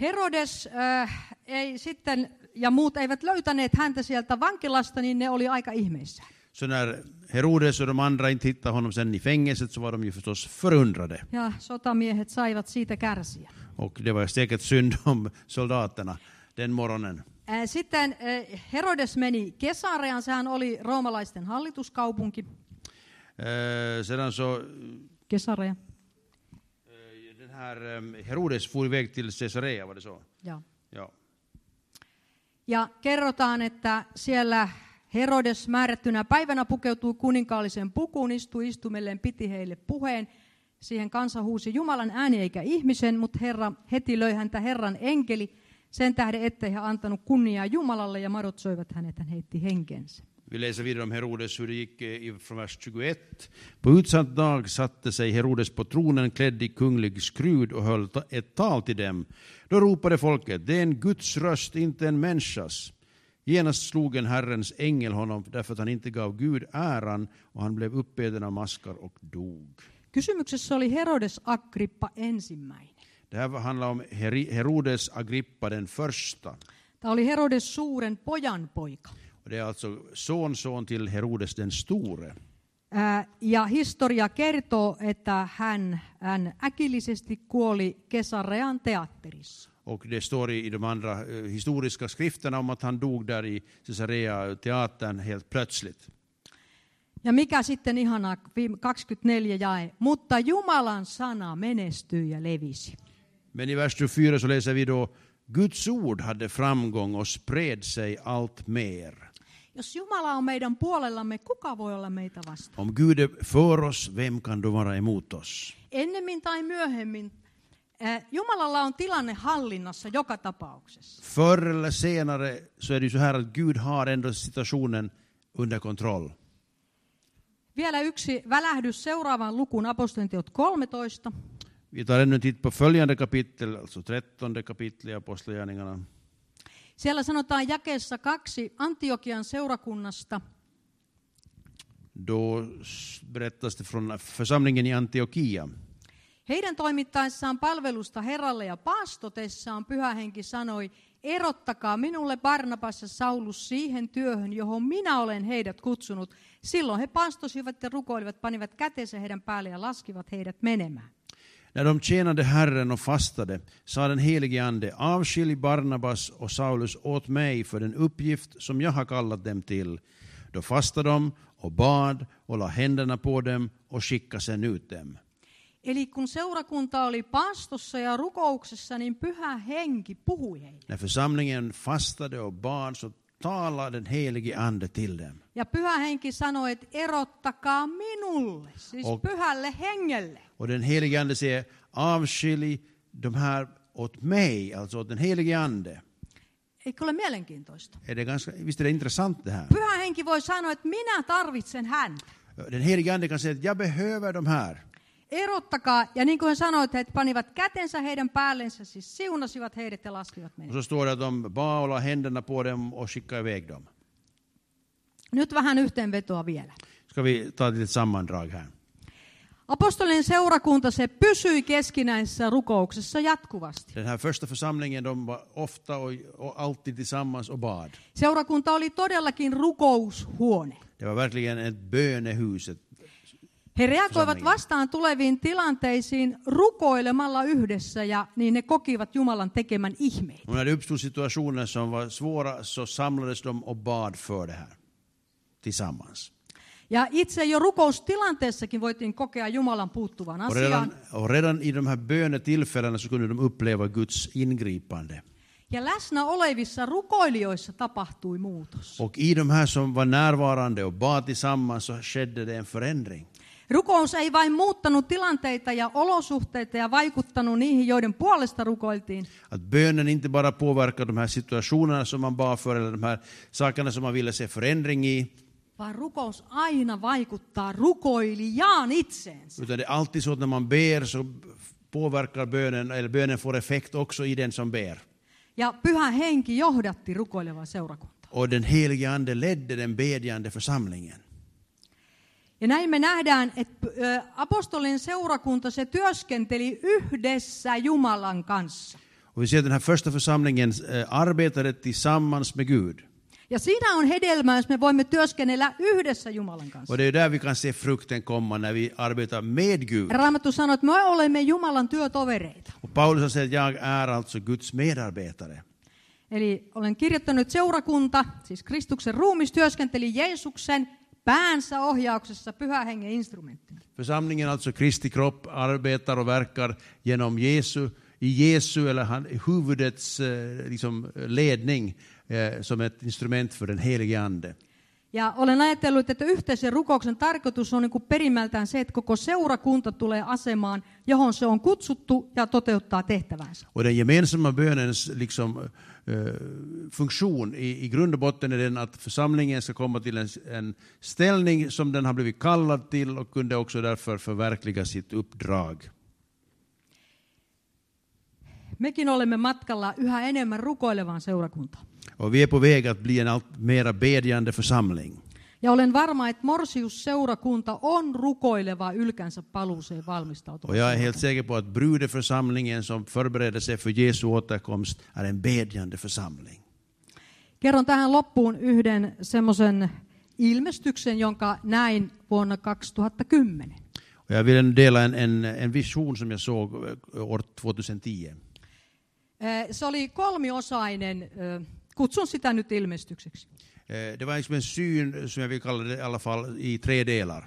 A: Herodes äh, ei sitten, ja muut eivät löytäneet häntä sieltä vankilasta, niin ne oli aika ihmeissään.
B: Så när Herodes och de andra inte hittade honom sen i fängelset så var de ju förstås förundrade.
A: Ja sotamiehet saivat siitä kärsiä.
B: Och det var säkert synd [laughs] om soldaterna den morgonen.
A: Äh, Sitten äh, Herodes meni Kesareaan, sehän oli roomalaisten hallituskaupunki.
B: Eh, sedan så, eh,
A: Kesarea.
B: den här eh, Herodes for iväg till Caesarea, var det så?
A: Ja.
B: Ja.
A: ja kerrotaan, että siellä Herodes määrättynä päivänä pukeutui kuninkaalliseen pukuun, istui istumelleen, piti heille puheen. Siihen kansa huusi Jumalan ääni eikä ihmisen, mutta Herra heti löi häntä Herran enkeli sen tähden, ettei hän antanut kunniaa Jumalalle ja madot söivät hänet, hän heitti henkensä.
B: Vi läser vidare om Herodes hur det gick eh, i- från vers 21. På utsatt dag satte sig Herodes på tronen klädd i kunglig skrud och höll ta- ett tal till dem. Då ropade folket, det är en Guds röst, inte en människas. Genast slog en Herrens ängel honom därför att han inte gav Gud äran och han blev uppäten av maskar och dog.
A: Kysymyksessä oli Herodes Agrippa ensimmäinen.
B: Det här handlar om Heri- Herodes Agrippa den första.
A: Tämä oli Herodes suuren pojan poika.
B: Och Det är alltså sonson till Herodes den store.
A: Ää, Ja historia kertoo, että hän, hän äkillisesti kuoli Kesarean teatterissa.
B: Och det står i i de andra eh, historiska skrifterna om att han dog där i Caesarea-teatern helt plötsligt.
A: Ja mikä sitten ihanaa, viime- 24 jae, mutta Jumalan sana menestyi ja levisi.
B: Men i vers 24 så läser vi då Guds ord hade framgång och spred sig allt mer.
A: Jos Jumala on meidän puolellamme, kuka voi olla meitä vastaan?
B: Om Gud är för oss, vem kan då vara emot oss?
A: Ennemmin tai myöhemmin ää, Jumalalla on tilanne hallinnassa joka tapauksessa.
B: Förr eller senare så är det ju så här att Gud har ändå situationen under kontroll.
A: Vielä yksi välähdys seuraavaan lukuun apostolintiot 13.
B: Vi tar ännu en titt på följande kapitel, alltså trettonde kapitlet i Apostlagärningarna.
A: Siellä sanotaan jakeessa kaksi Antiokian seurakunnasta.
B: Då s- berättas det från församlingen i Antiochia.
A: Heidän toimittaessaan palvelusta Herralle ja paastotessaan pyhähenki sanoi, erottakaa minulle Barnabas ja Saulus siihen työhön, johon minä olen heidät kutsunut. Silloin he paastosivat ja rukoilivat, panivat kätensä heidän päälle ja laskivat heidät menemään.
B: När de tjänade Herren och fastade sa den helige Ande, avskilj Barnabas och Saulus åt mig för den uppgift som jag har kallat dem till. Då fastade de och bad och la händerna på dem och skickade sedan ut dem.
A: Eli kun seurakunta oli paastossa ja rukouksessa, niin pyhä henki puhui heille.
B: När församlingen fastade och bad så talade den helige Ande till dem.
A: Ja pyhä henki sanoi, että erottakaa minulle, siis
B: Ok.
A: pyhälle hengelle.
B: Och den helige Ande säger, avskilj de här åt mig, alltså åt den helige Ande.
A: Eikö ole mielenkiintoista?
B: Är det ganska, visst är det intressant det här?
A: Pyhä henki voi sanoa, että minä tarvitsen häntä.
B: Den helige Ande kan säga att jag behöver de här.
A: Erottakaa, ja niin kuin sanoit, he panivat kätensä heidän päällensä, siis siunasivat heidät ja laskivat
B: Och
A: meidät.
B: så står det att de bad och la händerna på dem och skickade iväg dem.
A: Nyt vähän yhteenvetoa vielä.
B: Ska vi ta ett litet sammandrag här.
A: Apostolien seurakunta, se pysyi keskinäisessä rukouksessa jatkuvasti.
B: Den här första församlingen, de var ofta och, och alltid tillsammans och bad.
A: Seurakunta oli todellakin rukoushuone.
B: Det var verkligen ett bönehus. Ett-
A: He reagoivat vastaan tuleviin tilanteisiin rukoilemalla yhdessä ja niin ne kokivat Jumalan tekemän ihmeitä.
B: Och när det uppstod situationer som var svåra så samlades de och bad för det här. Tillsammans.
A: Ja itse jo rukoustilanteessakin voitiin kokea Jumalan puuttuvan
B: Och
A: asiaan.
B: redan, och redan i de här bönetillfällena så kunde de uppleva Guds ingripande.
A: Ja läsnä olevissa rukoilijoissa tapahtui muutos.
B: Och i de här som var närvarande och bad tillsammans så skedde det en förändring.
A: Rukous ei vain muuttanut tilanteita ja olosuhteita ja vaikuttanut niihin, joiden puolesta rukoiltiin,
B: Att bönen inte bara påverkar de här situationerna som man bad för eller de här sakerna som man ville se förändring i,
A: vaan rukous aina vaikuttaa rukoilijaan itseensä.
B: utan det är alltid så att när man ber så påverkar bönen, eller bönen får effekt också i den som ber.
A: Ja pyhä henki johdatti rukoilevaa seurakuntaa.
B: Och den helige Ande ledde den bedjande församlingen.
A: Ja näin me nähdään, että ö, apostolien seurakunta se työskenteli yhdessä Jumalan kanssa.
B: Och vi ser att den här första församlingen eh, arbetade tillsammans med Gud.
A: Ja siinä on hedelmä, jos me voimme työskennellä yhdessä Jumalan kanssa.
B: Och det är där vi kan se frukten komma när vi arbetar med Gud.
A: Raamattu sanoo, että me olemme Jumalan työtovereita.
B: Och Paulus säger att jag är alltså Guds medarbetare.
A: Eli olen kirjoittanut, seurakunta, siis Kristuksen ruumis, työskenteli Jeesuksen päänsä ohjauksessa pyhähengen instrumenttina.
B: Församlingen, alltså Kristi kropp, arbetar och verkar genom Jesu, i Jesu eller han, huvudets eh, liksom, ledning eh, som ett instrument för den helige Ande.
A: Ja olen ajatellut, että yhteisen rukouksen tarkoitus on niin kuin perimältään se, että koko seurakunta tulee asemaan, johon se on kutsuttu ja toteuttaa tehtävänsä.
B: Och den gemensamma bönens liksom, eh, funktion i, i grund och botten är den att församlingen ska komma till en, en ställning som den har blivit kallad till och kunde också därför förverkliga sitt uppdrag.
A: Mekin olemme matkalla yhä enemmän rukoilevaan seurakuntaan.
B: Och vi är på väg att bli en allt mera bedjande församling.
A: Ja olen varma, että Morsius-seurakunta on rukoileva ylkänsä paluuseen valmistautuva.
B: Och jag är helt säker på att brudeförsamlingen som förbereder sig för Jesu återkomst är en bedjande församling.
A: Kerron tähän loppuun yhden semmoisen ilmestyksen, jonka näin vuonna 2010.
B: Och jag vill ändå dela en, en, en vision som jag såg eh, år 2010.
A: Eh, Se oli kolmiosainen, eh, kutsun sitä nyt ilmestykseksi.
B: Eh, Det var liksom en syn som jag vill kalla det i alla fall i tre delar.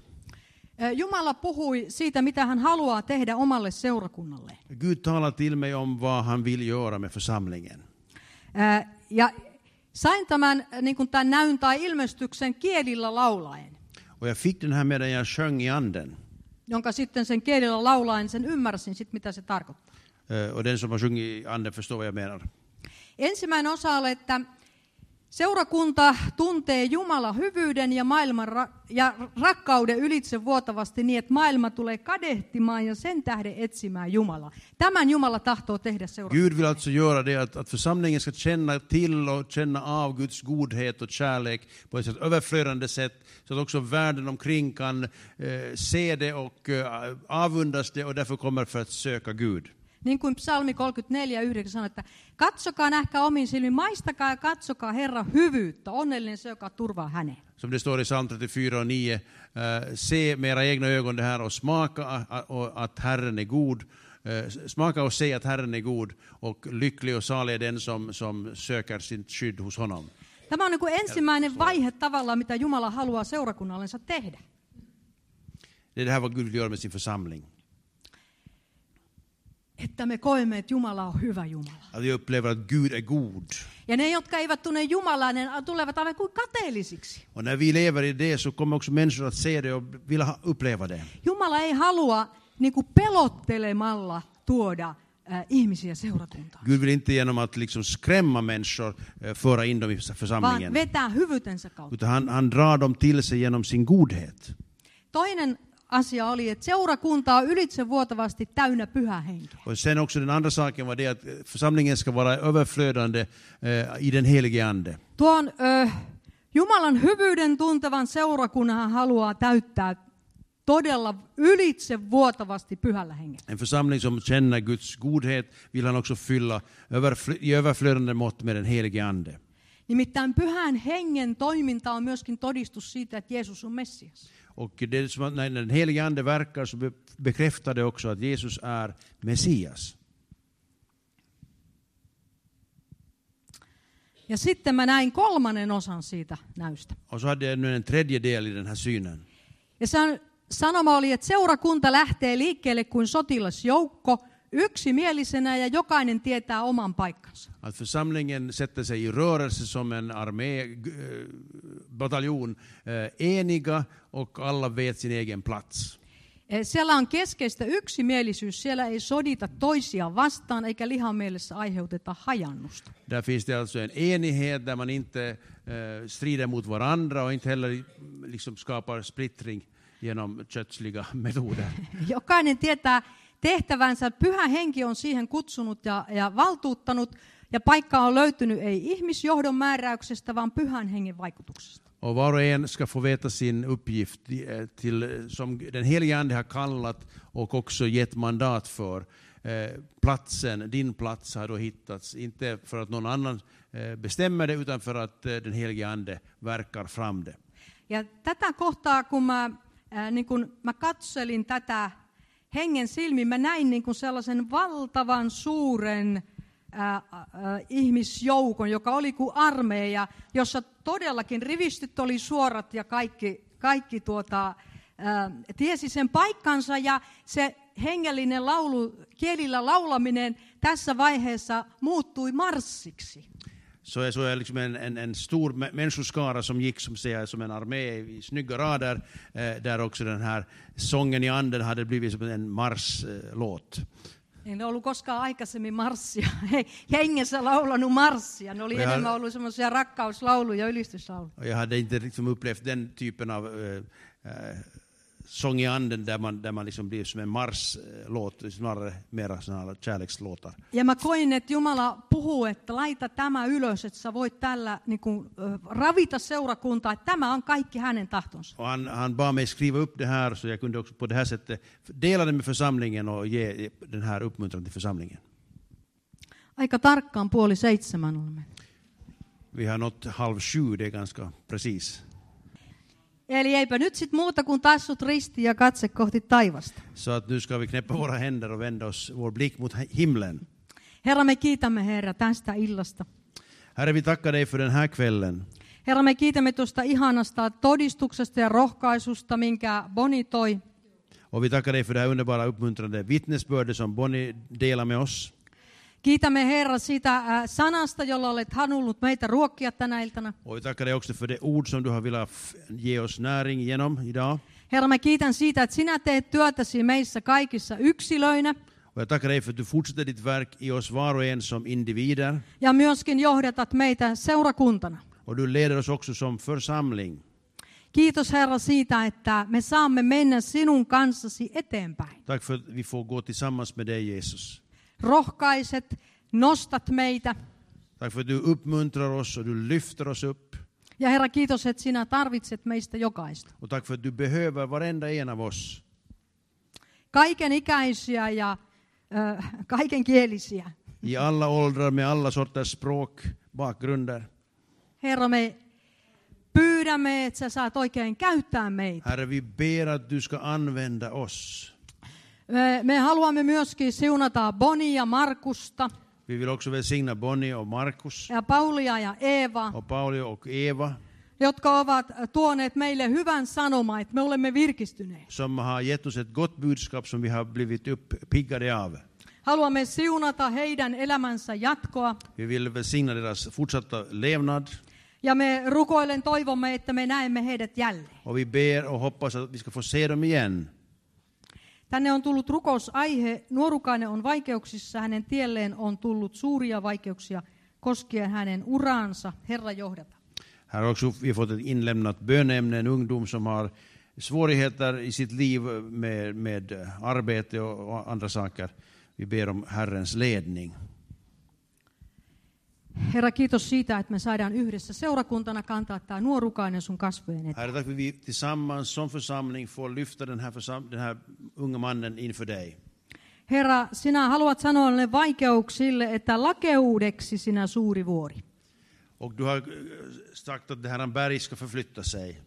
A: Eh, Jumala puhui siitä, mitä hän haluaa tehdä omalle seurakunnalle.
B: Gud talade till mig om vad han vill göra med församlingen.
A: Eh, Ja sain tämän, eh, niin kuin tämän näyn tai ilmestyksen kielillä laulaen,
B: Och jag fick den här medan jag sjöng i anden.
A: jonka sitten sen kielillä laulaen sen ymmärsin, sit, mitä se tarkoittaa.
B: Eh, Och den som har sjungit i anden förstår vad jag menar.
A: Ensimmäinen osa oli, että seurakunta tuntee Jumalan hyvyyden ja maailman ra- ja rakkauden ylitse vuotavasti niin, että maailma tulee kadehtimaan ja sen tähden etsimään Jumalaa. Tämän Jumala tahtoo tehdä seurakunta.
B: Gud vill alltså göra det att, att församlingen ska känna till och känna av Guds godhet och kärlek på ett överflödande sätt så att också världen omkring kan eh, se det och eh, avundas det och därför kommer för att söka Gud.
A: Niin kuin psalmi 34, 9 sanoo, että katsokaa, nähkää omin silmin, maistakaa ja katsokaa Herran hyvyyttä. Onnellinen se, joka turvaa hänen.
B: Som det står i psalm 34 och 9. Eh, se med era egna ögon det här och smaka a- a- och att Herren är god. Eh, smaka och se att Herren är god och lycklig och salig är den som, som söker sitt skydd hos honom.
A: Tämä on niin kuin ensimmäinen vaihe tavallaan, mitä Jumala haluaa seurakunnallensa tehdä.
B: Det är det här vad Gud vill göra med sin församling.
A: Että me koemme, että Jumala on hyvä Jumala.
B: Att vi upplever att Gud är god.
A: Ja ne, jotka eivät tunne Jumalaa, ne tulevat aivan kuin kateellisiksi.
B: Och när vi lever i det så kommer också människor att se det och vilja ha- uppleva det.
A: Jumala ei halua niin kuin pelottelemalla tuoda äh, ihmisiä seurakuntaan,
B: Gud vill inte genom att liksom skrämma människor eh, föra in dem i
A: vaan
B: församlingen.
A: vetää hyvyytensä kautta.
B: Utan han, han drar dem till sig genom sin godhet.
A: Toinen asia oli, että seurakunta on ylitsevuotavasti täynnä pyhä henkeä.
B: Och sen också den andra saken var det att eh, församlingen ska vara överflödande eh, i den helige Ande.
A: Tuon ö, Jumalan hyvyyden tuntevan seurakunnan hän haluaa täyttää todella ylitsevuotavasti pyhällä hengellä.
B: En församling som känner Guds godhet vill han också fylla överfl- i överflödande mått med den helige Ande.
A: Nimittäin pyhän hengen toiminta on myöskin todistus siitä, että Jeesus on Messias.
B: Och det är som att när den helige Ande verkar så be- bekräftar det också att Jesus är Messias.
A: Ja sitten mä näin kolmannen osan siitä näystä.
B: Och så hade jag nu en tredje del i den här synen.
A: Ja san- sanoma oli, että seurakunta lähtee liikkeelle kuin sotilasjoukko, yksimielisenä ja jokainen tietää oman paikkansa.
B: Att församlingen sätter sig i rörelse som en armé, g- eh, bataljon, eh, eniga och alla vet sin egen plats.
A: Eh, Siellä on keskeistä yksimielisyys, siellä ei sodita toisia vastaan eikä lihan mielessä aiheuteta hajannusta. [laughs]
B: Där finns det alltså en enighet där man inte eh, strider mot varandra och inte heller mm, liksom skapar splittring genom kötsliga [laughs] metoder.
A: Jokainen tietää tehtävänsä, pyhä henki on siihen kutsunut ja, ja valtuuttanut ja paikka on löytynyt ei ihmisjohdon määräyksestä, vaan pyhän hengen vaikutuksesta.
B: Och var och en ska få veta sin uppgift eh, till, som den helige Ande har kallat och också gett mandat för. Eh, Platsen, din plats har då hittats, inte för att någon annan eh, bestämmer det utan för att eh, den helige Ande verkar fram det.
A: Ja tätä kohtaa, kun mä, ää, niin kun mä katselin tätä hengen silmin, mä näin niin kun sellaisen valtavan suuren ää, ää, ihmisjoukon, joka oli kuin armeija, jossa todellakin rivistit oli suorat ja kaikki, kaikki tuota, ää, tiesi sen paikkansa ja se hengellinen laulu, kielillä laulaminen tässä vaiheessa muuttui marssiksi.
B: Så jag såg liksom en, en, en stor mä- människoskara som gick som, säger, som en armé i snygga rader, eh, där också den här sången i anden hade blivit som en marschlåt.
A: Ei ne ollut koskaan aikaisemmin marssia, [laughs] ei hengessä laulanut marssia. Ne oli
B: Ja-
A: enemmän ollut semmoisia rakkauslauluja ja ylistyslauluja.
B: Och jag hade inte liksom upplevt den typen av eh, eh, sång i anden där man, där man liksom blir som en marschlåt, snarare mera såna här kärlekslåtar.
A: Ja mä koin, että Jumala puhuu, että laita tämä ylös, että sä voit tällä niin kuin, ö, ravita seurakuntaa, että tämä on kaikki hänen tahtonsa.
B: Och han, han bad mig skriva upp det här så jag kunde också på det här sättet dela det med församlingen och ge den här uppmuntran till församlingen.
A: Aika tarkkaan puoli seitsemän olemme.
B: Vi har nått halv sju, det är ganska precis.
A: Eli eipä nyt sitten muuta kuin tassut ristiin ja katse kohti taivasta.
B: Så att nu ska vi knäppa våra händer och vända oss, vår blick mot himlen.
A: Herra, me kiitämme Herra tästä illasta.
B: Herre, vi tackar dig för den här kvällen.
A: Herra, me kiitämme tuosta ihanasta todistuksesta ja rohkaisusta, minkä Boni toi.
B: Och vi tackar dig för det här underbara uppmuntrande vittnesbördet som Bonnie delar med oss.
A: Kiitämme Herra siitä äh, sanasta, jolla olet halunnut meitä ruokkia tänä iltana.
B: Och vi tackar dig också för det ord som du har velat f- ge oss näring genom idag.
A: Herra, mä kiitän siitä, että sinä teet työtäsi meissä kaikissa yksilöinä
B: Och jag tackar dig för att du fortsätter ditt verk i oss var och en som individer.
A: ja myöskin johdatat meitä seurakuntana.
B: Och du leder oss också som församling.
A: Kiitos Herra siitä, että me saamme mennä sinun kanssasi eteenpäin.
B: Tack för att vi får gå tillsammans med dig Jesus.
A: Rohkaiset, nostat meitä.
B: Tack för att du uppmuntrar oss och du lyfter oss upp.
A: Ja Herra, kiitos, että sinä tarvitset meistä jokaista.
B: Och tack för att du behöver varenda en av oss.
A: Kaiken ikäisiä ja ö, kaiken kielisiä.
B: I alla åldrar med alla sorters språk, bakgrunder.
A: Herra, me pyydämme, että sä saat oikein käyttää meitä.
B: Herre, vi ber att du ska använda oss.
A: Me, me haluamme myöskin siunata Bonia ja Markusta
B: Vi vill också välsigna Bonnie och Markus
A: ja Paulia ja Eevaa.
B: och Pauli och Eva
A: jotka ovat tuoneet meille hyvän sanoman, että me olemme virkistyneet.
B: som har gett oss ett gott budskap som vi har blivit uppiggade av.
A: Haluamme siunata heidän elämänsä jatkoa
B: Vi vill välsigna deras fortsatta levnad
A: ja me rukoilen toivomme, että me näemme heidät jälleen.
B: och vi ber och hoppas att vi ska få se dem igen.
A: Tänne on tullut rukousaihe, nuorukainen on vaikeuksissa, hänen tielleen on tullut suuria vaikeuksia koskien hänen uraansa, Herra johdata.
B: Här har också vi har fått ett inlämnat bönämne, en ungdom som har svårigheter i sitt liv med, med arbete och och andra saker. Vi ber om Herrens ledning.
A: Herra, kiitos siitä, että me saadaan yhdessä seurakuntana kantaa tämä nuorukainen sun kasvojen eteen.
B: Herre, tack för att vi tillsammans som församling får lyfta den här, försam- den här unga mannen inför dig.
A: Herra, sinä haluat sanoa ne vaikeuksille, että lakeudeksi sinä suuri vuori.
B: Och du har eh, sagt att det här berg ska förflytta sig.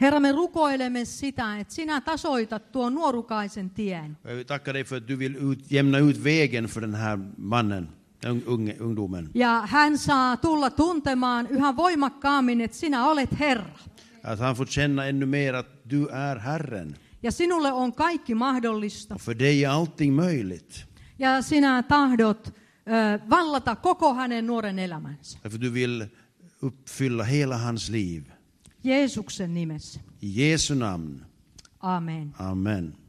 A: Herra, me rukoilemme sitä, että sinä tasoitat tuon nuorukaisen tien.
B: Och Jag vill tacka dig för att du vill ut, jämna ut vägen för den här mannen, un, unge, ungdomen.
A: Ja hän saa tulla tuntemaan yhä voimakkaammin, että sinä olet Herra.
B: Att han får känna ännu mer att du är Herren.
A: Ja sinulle on kaikki mahdollista.
B: Och för dig är allting möjligt.
A: Ja sinä tahdot ö, vallata koko hänen nuoren elämänsä.
B: Därför du vill uppfylla hela hans liv.
A: Jeesuksen nimessä.
B: I Jesu namn.
A: Amen.
B: Amen.